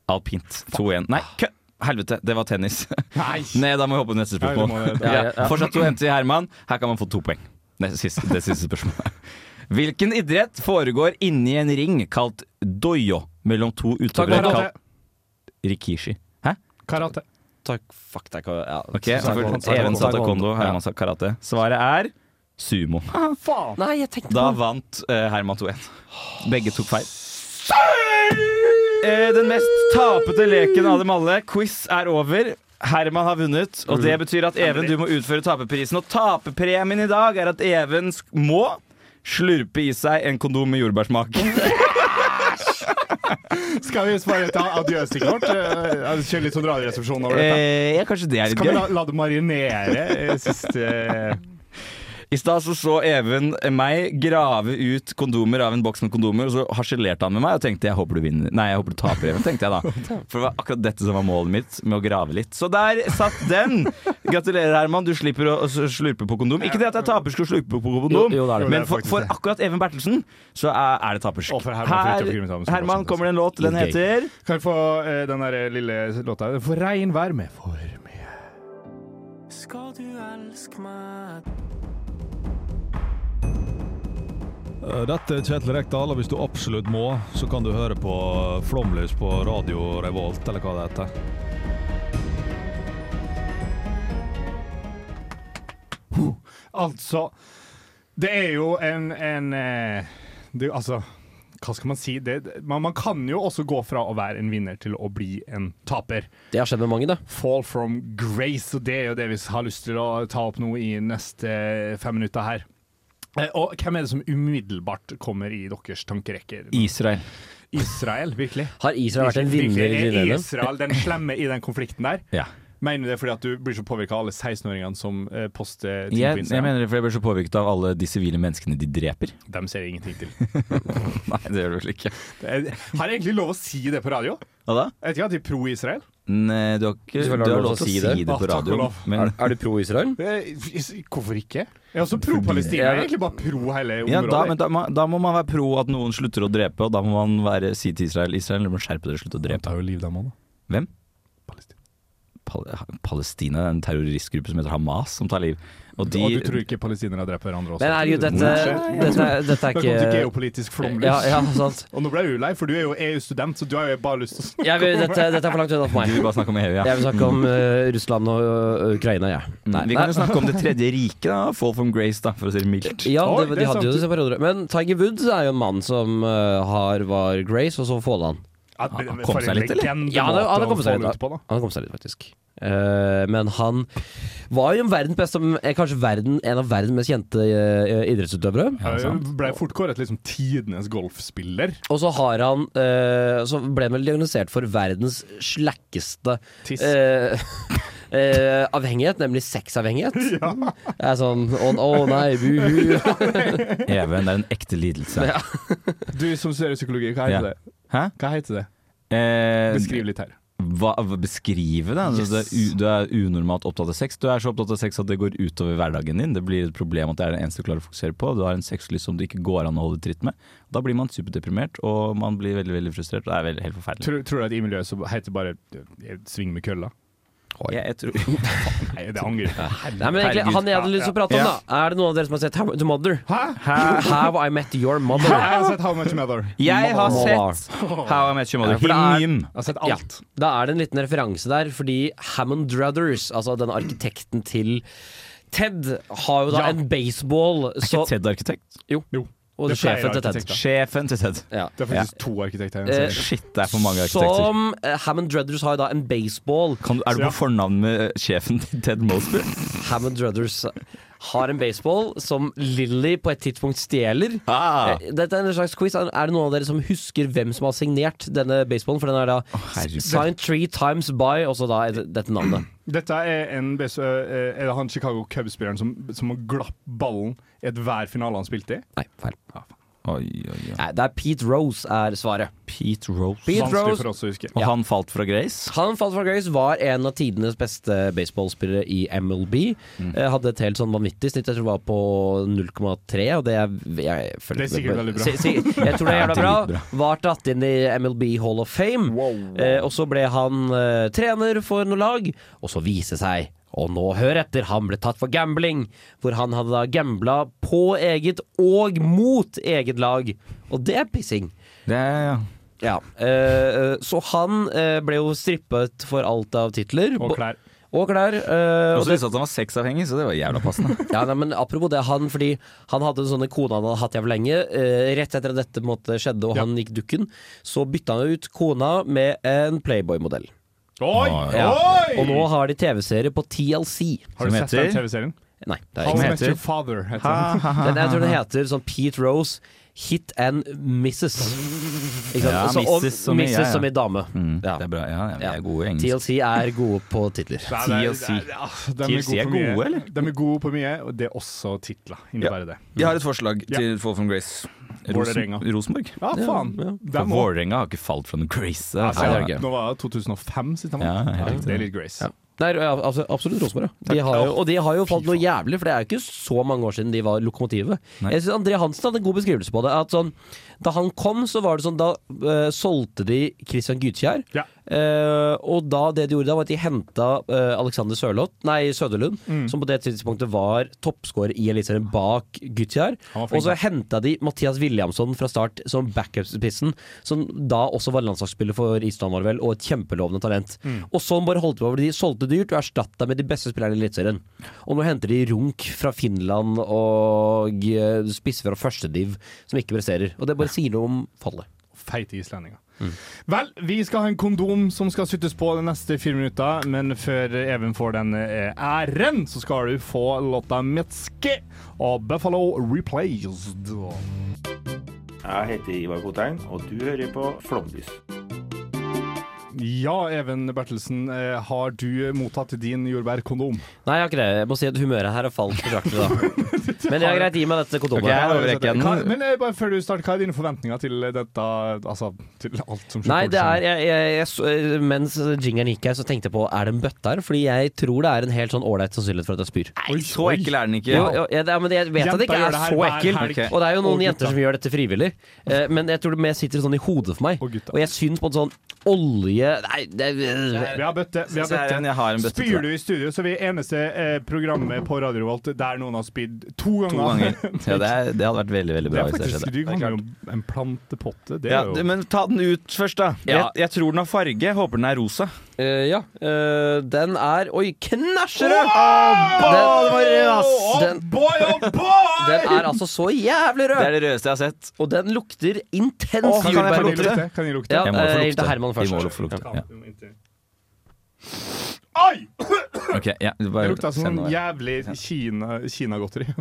Alpint. 2-1. Nei, kø! Helvete, det var tennis.
Nei!
Nei, da må vi hoppe på neste spørsmål.
Ja, det må vi-
ja,
ja, ja.
Fortsatt to hente til Herman. Her kan man få to poeng. Det siste, det siste spørsmålet. Hvilken idrett foregår inni en ring kalt doyo mellom to utøvere
Karate.
kalt rikishi? Hæ?
Karate.
Takk, fuck deg, hva- ja.
Ok, for Even sa taekwondo, Herman sa karate. Svaret er sumo.
Faen!
Nei, jeg tenkte
Da
på
vant eh, Herman 2-1. Begge tok feil. Eh, den mest tapete leken av dem alle. Quiz er over. Herman har vunnet, og det betyr at Even, du må utføre taperprisen. Og taperpremien i dag er at Even sk- må slurpe i seg en kondom med jordbærsmak.
Skal vi svare et adjø-stikk vårt? Eh, Kjøre litt sånn radioresepsjon over dette.
Eh, ja, kanskje det er litt
Skal vi
gøy.
la, la det marinere eh, siste
I stad så, så Even meg grave ut kondomer av en boks med kondomer, og så harselerte han med meg og tenkte jeg håper du vinner. Nei, jeg håper du taper, Even, tenkte jeg da. For det var akkurat dette som var målet mitt, med å grave litt. Så der satt den! Gratulerer, Herman, du slipper å å slurpe på kondom. Ikke det at jeg taper skulle slurpe på
Jo,
kondom,
jo, det er det.
men for, for akkurat Even Bertelsen så er, er det tapersk.
Og for Herman Fridtjof Grimstad, som
Herman
fortsatt-
kommer det en låt, den
altså. Gøy.
heter
Kan vi få eh, den der lille låta? For regnvær med for mye
Skal du elske meg
Eh, Dette er Kjetil Rekdal, og hvis du absolutt må, så kan du høre på Flomlys på Radio Revolt, eller hva det heter.
Altså, det er jo en, en eh, det, Altså, hva skal man si? Det, det- man, man kan jo også gå fra å være en vinner til å bli en taper.
Det har skjedd med mange, det.
Fall from grace, og det er jo det vi har lyst til å ta opp nå i neste fem minutter her. Eh, Og hvem er det som umiddelbart kommer i deres tankerekker?
Israel.
Israel, virkelig?
Har Israel vært en
Virkelig,
vinner i
Er
denne?
Israel den slemme i den konflikten der?
Ja.
Mener du det fordi at du blir så påvirka av alle 16-åringene som eh, poster ting på
Jeg, jeg
Instagram?
mener det, for jeg blir så påvirket av alle de sivile menneskene de dreper.
Dem ser jeg ingenting til.
Nei, det gjør du vel ikke.
Jeg har jeg egentlig lov å si det på radio?
Hva da?
Jeg vet ikke at de er pro-Israel.
Nei, du har ikke
Selvfølgelig
du har lov til å si det,
Å,
på
takk og
radio.
lov.
Men
Er, er du pro Israel?
Eh, Hvorfor ikke? Jeg er også pro-Palestina. Jeg er egentlig bare pro hele området.
ja, da, men da, må- da må man være pro at noen slutter å drepe, og da må man være, si til Israel Israel, dere må skjerpe dere, slutt å drepe.
tar jo liv, dem òg, da.
Hvem? Pal Palestina, det er en terroristgruppe som heter Hamas, som tar liv. Og de
og du tror ikke palestinere dreper hverandre også?
Men herregud, dette, dette, er- dette
Da
er
kom du
ikke
geopolitisk flomlys.
Ja, ja, sant.
Og nå ble jeg ulei, for du er jo EU-student, så du har jo bare lyst til å
Jeg vil, dette, dette er for langt unna for
Du vil
meg.
bare snakke om EU, ja.
Jeg vil snakke om eh, Russland og eh, Ukraina, jeg. Ja.
Nei, Vi kan jo snakke om Det tredje riket, da. Fall from grace, da, for å si det mildt.
Ja,
Oi,
det,
det
de
er
hadde jo
sant.
disse perioder. Men Tiger Woods er jo en mann som eh, har, var Grace, og så Faaland.
Ja, men-
Han kom
for en
seg litt, eller?
legende
Ja, han har- han
måte
har
å
kommet seg
falle
litt,
ut på, da.
da. Han kom seg litt, faktisk. Eh, men han var jo verdens beste, eh, kanskje verden, en av verdens mest kjente eh, idrettsutøvere.
Jeg Ble fort kåret liksom tidenes golfspiller.
Og så har han eh, Så ble han vel diagnosert for verdens slakkeste
Tiss.
eh, eh, avhengighet, nemlig sexavhengighet. Ja. Jeg er sånn Å å nei, buhu.
Even, det er en ekte lidelse.
Du som studerer psykologi, hva
Ja.
heter det?
Hæ?
Hva heter det?
Eh,
Beskriv litt her.
Hva, hva beskrive det? Altså, Du, er u, du er unormalt opptatt av sex. Du er så opptatt av sex at det går utover hverdagen din. Det blir et problem at det er det eneste du klarer å fokusere på. Du har en sexlyst som det ikke går an å holde tritt med. Da blir man superdeprimert, og man blir veldig veldig frustrert. Og det er veldig, helt forferdelig.
Tror, tror du at i miljøet så heter det bare eh, 'sving med kølla'?
Jeg, jeg tror,
Nei, det angrer jeg på.
Nei, men egentlig,
Herregud.
Han jeg hadde lyst til å prate om,
Ja.
da. Er det noen av dere som har sett How I Met Your Mother?
Hæ?
How I Met Your Mother.
Jeg har sett How Much Mother.
jeg har
Mother.
sett How I Met Your Mother.
Ja, for det er-
Him.
Jeg har sett
Ja,
alt.
da er det en liten referanse der, fordi Hammond Druthers, altså den arkitekten til Ted, har jo da
Ja.
en baseball så,
Ted-arkitekt.
Jo.
Og
Det er flere
sjefen til Ted.
arkitekter.
Sjefen til Ted.
Ja.
Det er faktisk to arkitekter her.
Eh,
så-
Shit, det er for mange arkitekter.
Som eh, Hammond Druthers har jo da en baseball.
Kan, du- er du på fornavn med eh, sjefen til Ted Mosby?
Hammond Druthers har en baseball som Lilly på et tidspunkt stjeler.
Ah.
Eh, Dette er en slags quiz. Er det noen av dere som husker hvem som har signert denne baseballen? For den er da
herregud.
signed three times by, og så da er det- dette navnet.
Dette er, en, bes- eh, er det han Chicago Cubs-spilleren som, som glapp ballen i ethver finale han spilte i?
Nei, feil.
Oi, oi, oi.
Nei, det er Pete Rose er svaret.
Pete Rose.
Pete
Vanskelig
Rose
for oss å huske.
Og han falt fra Grace?
Han Fall for Grace var en av tidenes beste baseballspillere i MLB.
Mm.
Eh, Hadde et helt sånn vanvittig snitt, jeg tror det var på 0,3. Og det er, jeg, føler
Det er sikkert veldig bra.
Si, si, jeg tror det er jævla bra.
Dritbra.
Var dratt inn i MLB Hall of Fame. Eh, og så ble han eh, trener for noe lag, og så vise seg og nå hør etter, han ble tatt for gambling, hvor han hadde da gambla på eget og mot eget lag. Og det er pissing.
Det er, ja.
Ja, eh, så han eh, ble jo strippet for alt av titler.
Og klær.
Bo- Og klær. eh,
Og
og
så
det,
visste Altså, at han var sexavhengig, så det var jævla passende.
ja, nei, men apropos det, han fordi han hadde en sånne kone han hadde hatt jævlig lenge. eh, rett etter at dette på en måte, skjedde og han gikk dukken, så bytta han ut kona med en Playboy-modell.
Oi!
Ja.
Oi!
Og nå har de TV-serie på TLC.
Har du
Som
sett den
heter-
TV-serien?
Nei, det er
How
ikke
Met
heter-
Your Father heter den.
den, Jeg tror den heter sånn Pete Rose Hit and Mrs. Ikke sant?
Ja,
Så- og
Mrs. som i- ja, ja. Mm,
Mrs. som i dame. Ja.
Det er bra, ja, ja, vi er gode i engelsk.
TLC er gode på titler.
Nei, det er-
TLC.
det er- ah, de er
TLC
gode
er
på mye.
gode, eller?
De er gode på mye, og det er også titler. Innebærer det.
Jeg har et forslag
Ja.
til Fall from Grace.
Vålerenga.
Rosenborg?
Ja, faen.
For
Dem òg.
Vålerenga har ikke falt fra noe Grace. Det er
Altså,
feil.
nå var det 2005 sitt han
Ja, helt riktig.
Det er litt grace.
Nei, ja, altså, absolutt Rosenborg. ja. De har jo, og de har jo falt noe jævlig, for det er jo ikke så mange år siden de var lokomotivet. Jeg synes André Hansen hadde en god beskrivelse på det. At sånn, da han kom, så var det sånn Da eh, solgte de Christian Gudkjær.
Ja.
Eh, og da det de gjorde da, var at de henta eh, Alexander Sørloth, nei Søderlund,
Mm.
som på det tidspunktet var toppskårer i Eliteserien bak Gudkjær.
Han var flink,
Og så henta de Mathias Williamson fra start som backup-spissen, som da også var landslagsspiller for Island, var det vel, og et kjempelovende talent.
Mm.
Og sånn bare holdt det på, for de solgte dyrt og erstatta med de beste spillerne i Eliteserien. Og nå henter de Runk fra Finland og eh, spisser fra førstediv som ikke presterer. Og det bare sier noe om fallet.
Feite islendinger.
Mm.
Vel, vi skal ha en kondom som skal suttes på de neste fire minutta, men før Even får den eh, æren, så skal du få låta 'Metzke' av Buffalo Replaced.
Jeg heter Ivar Kotein, og du hører på Flomlys.
Ja, Even Bertelsen, eh, har du mottatt din jordbærkondom?
Nei, jeg har ikke det. Jeg må si at humøret her har falt betraktelig, da. Men det er greit, gi meg dette kondomet.
Ok, jeg overrekker den.
Hva, men eh, bare før du starter, hva er dine forventninger til dette, altså til alt som skjer?
Nei, det er jeg, jeg, jeg, så- eh, Mens jingeren gikk her, så tenkte jeg på er det en bøtte her? Fordi jeg tror det er en helt sånn ålreit sannsynlighet for at jeg spyr.
Nei, så ekkel er den ikke.
Jo, jo, ja, det, er- men jeg vet at
Jenta
det ikke
gjør
er
det her
så
hver
ekkel,
helg.
og det er jo noen
Og
jenter
gutta.
som gjør dette frivillig. Eh, Men jeg tror det mer sitter sånn i hodet for meg.
Og gutta.
Og jeg syns på en sånn olje Nei, det,
Vi har bøtte. Vi har
Se her
bøtte.
igjen, jeg har en bøtte til
Spyr
deg.
du i studio, så vi er eneste eh, programmet på Radio Revolt der noen har spydd to
To
ganger.
ganger. Ja, det, er, det hadde vært veldig veldig
Det
bra.
er
hvis det
faktisk
skjedde.
Du mangler jo en plantepotte. Det
ja,
er
du,
jo
men ta den ut først, da.
Ja.
Jeg, jeg tror den har farge. Håper den er rosa.
Eh, ja. eh, den er Oi, knæsjer du!
boy! Oh,
Den, den er altså så jævlig
Det
rød!
er det rødeste jeg har sett.
Og den lukter intens
Åh, kan jeg få
jordbær.
lukte det?
Kan jeg lukte?
Ja,
Jeg må få
eh,
lukte.
det er Herman
Vi må
først.
få lukte. Ja.
Oi!
Ok, ja, du
Det
bare
lukta som
send
sånn
over.
jævlig Kina- kinagodteri.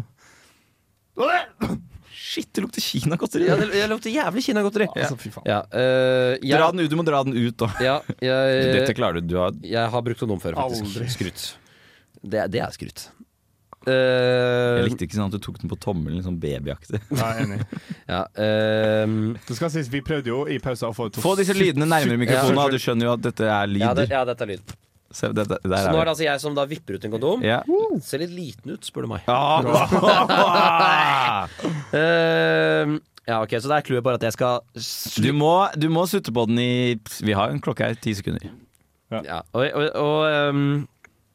Shit, det lukter kinagodteri!
Ja, det, det lukter jævlig kinagodteri. Ja.
fy faen.
Ja, eh, jeg,
Altså, Dra den ut, du må dra den ut, da.
ja,
Dette
jeg,
klarer du. Du har
jeg har brukt kondom før, faktisk.
Aldri.
Skryt. Det, det er skryt. Eh,
Jeg likte ikke sånn at du tok den på tommelen, litt sånn babyaktig.
Ja, jeg er enig.
ja, eh,
Det skal sies, vi prøvde jo i pausen å få
Få disse lydene nærmere mikrofonen, da. du skjønner jo at dette er
ja, det,
lyder.
ja, dette er lyd.
Se, det, det,
Så
der
nå er det
er vi.
altså jeg som da vipper ut en kondom.
Ja.
Ser litt liten ut, spør du meg.
Ah!
Eh, ja, ok, Så det er clouet bare at jeg skal slu-
Du må, du må sutte på den i Vi har en klokke her, ti sekunder.
ja, Og, og, og ehm,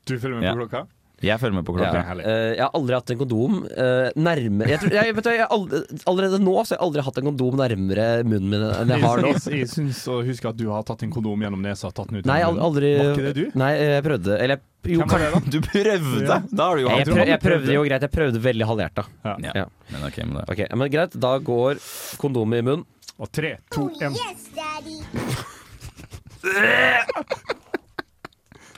Du følger med på klokka?
Jeg følger med på
ja,
klokka.
herlig.
eh, Jeg har aldri hatt en kondom uh, nærmere jeg tror, jeg, vet du, jeg har aldri, Allerede nå så har jeg aldri hatt en kondom nærmere munnen min enn jeg har nå.
Jeg, jeg syns å huske at du har tatt en kondom gjennom nesa og tatt den ut.
Nei,
gjennom
al-
munnen.
aldri
Var ikke det du?
Nei, jeg prøvde. Eller jeg- jo,
Hvem var
kanskje
det, da?
Du prøvde! Da har du jo
jeg,
hatt
prøv, jeg prøvde jo greit. Jeg prøvde veldig halvhjerta.
ja. Men ok, men da
Ok, ja, men Greit, da går kondomet i munnen.
Og tre, to, én.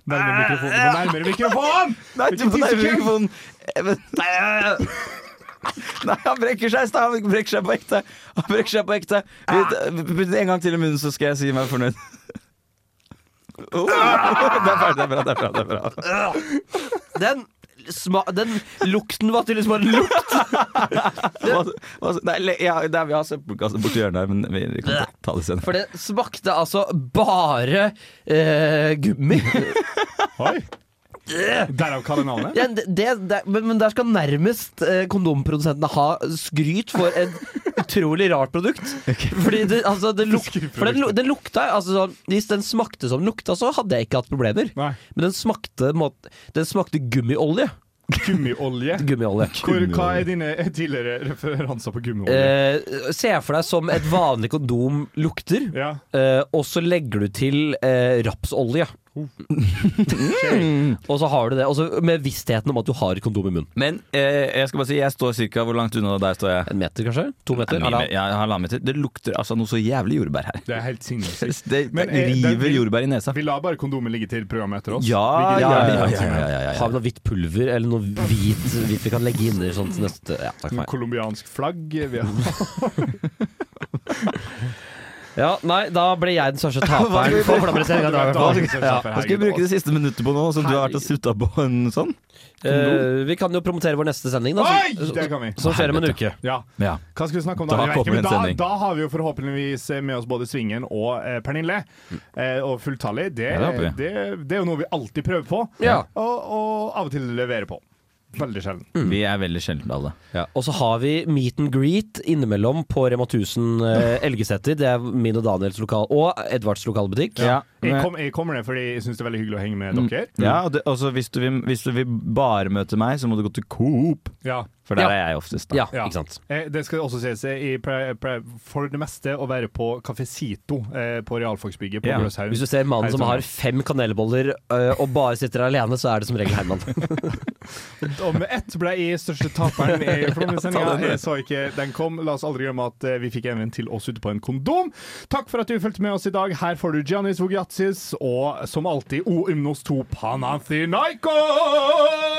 Nærmere mikrofonen. Gå Nærmere mikrofonen!
Nei, du må nærme mikrofonen! Eh, men- Nei, eh. Nei, han brekker seg! Stav. Han brekker seg på ekte! Han brekker seg på ekte Vi- Putt den en gang til i munnen, så skal jeg si meg fornøyd. Oh. Det er ferdig, det er bra. det er bra, det er bra
Den, sma, den lukten var tydeligvis bare en lukt.
Hva- hva- Nei, le- ja, det er, vi har søppelkasse borti hjørnet her, men vi kan ta det senere.
For det smakte altså bare eh, gummi.
Oi. Derav kallenavnet.
Ja, det, det, det, men, men der skal nærmest eh, kondomprodusentene ha skryt for et utrolig rart produkt. Fordi det, altså, det luk, for den, lu- den lukta altså, sånn, Hvis den smakte som den lukta, så hadde jeg ikke hatt problemer.
Nei.
Men den smakte, må- den smakte gummiolje.
Gummiolje.
Gummiolje.
Hvor, hva er dine tidligere referanser på gummiolje?
Eh, se for deg som et vanlig kondom lukter,
Ja.
eh, og så legger du til eh, rapsolje. Mm. Og så har du det, og så med vissheten om at du har et kondom i munnen.
Men eh, jeg skal bare si, jeg står cirka Hvor langt unna deg står jeg?
En meter, kanskje? To meter?
Mye mer- Ja, halvannen meter. Det lukter altså noe så jævlig jordbær her.
Det er helt sinnssykt.
Det
Men, eh, den
river
vil-
jordbær i nesa.
Vi lar bare kondomet ligge til programmet etter oss.
Ja,
Vi
ja, ja,
gidder
ja,
ikke.
ja, ja, ja,
Har vi noe hvitt pulver eller noe hvit, hvit vi kan legge inni sånn til neste Ja, takk for meg.
Colombiansk flagg. Vi har.
Ja, nei, da ble jeg den største taperen på flammeresendinga i dag, i hvert fall. Ja.
Hva skal vi bruke det siste minuttet på nå, som du har vært og sutta på en sånn?
Eh, vi kan jo promotere vår neste sending, da.
Oi!
som-
Det kan vi.
Som skjer om en uke.
Ja.
Ja.
Hva skal vi snakke om
altså, Da
da? Jeg vet
kommer
ikke, men
en sending.
da, da har vi jo forhåpentligvis eh, med oss både Svingen og eh, Pernille. Eh, og fulltallig. Det,
Ja, det håper vi.
det, det er jo noe vi alltid prøver på,
Ja.
og, og av og til leverer på. Veldig sjelden.
Vi er veldig sjelden alle.
Og så har vi meet and greet innimellom på Rema 1000 eh, Elgeseter. Det er min og Daniels lokal og Edvards lokalbutikk.
Ja,
Jeg,
men-
kom, jeg kommer ned fordi jeg syns det er veldig hyggelig å henge med dere.
Mm. ja og det- og så hvis, du vil- hvis du vil bare møte meg, så må du gå til Coop.
Ja.
For der
Ja.
er jeg oftest. Da.
Ja,
Ja.
ikke sant.
Eh, Det skal også sies eh, jeg pre- pre- for det meste å være på Café Sito eh, på realfagsbygget på
Ja.
Gløshaugen.
Hvis du ser mannen som har fem kanelboller eh, og bare sitter alene, så er det som regel Herman.
Og med ett ble jeg største taperen i Flåmlysendinga. Jeg så ikke den kom. La oss aldri glemme at eh, vi fikk en venn til oss ute på en kondom. Takk for at du fulgte med oss i dag. Her får du Giannis Vogiatsis og som alltid O Ymnos 2 Panathinaikos!